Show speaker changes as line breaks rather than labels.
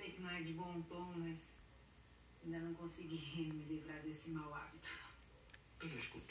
É, vai de bom tom, mas ainda não consegui me livrar desse mau hábito.
Pelo escudo.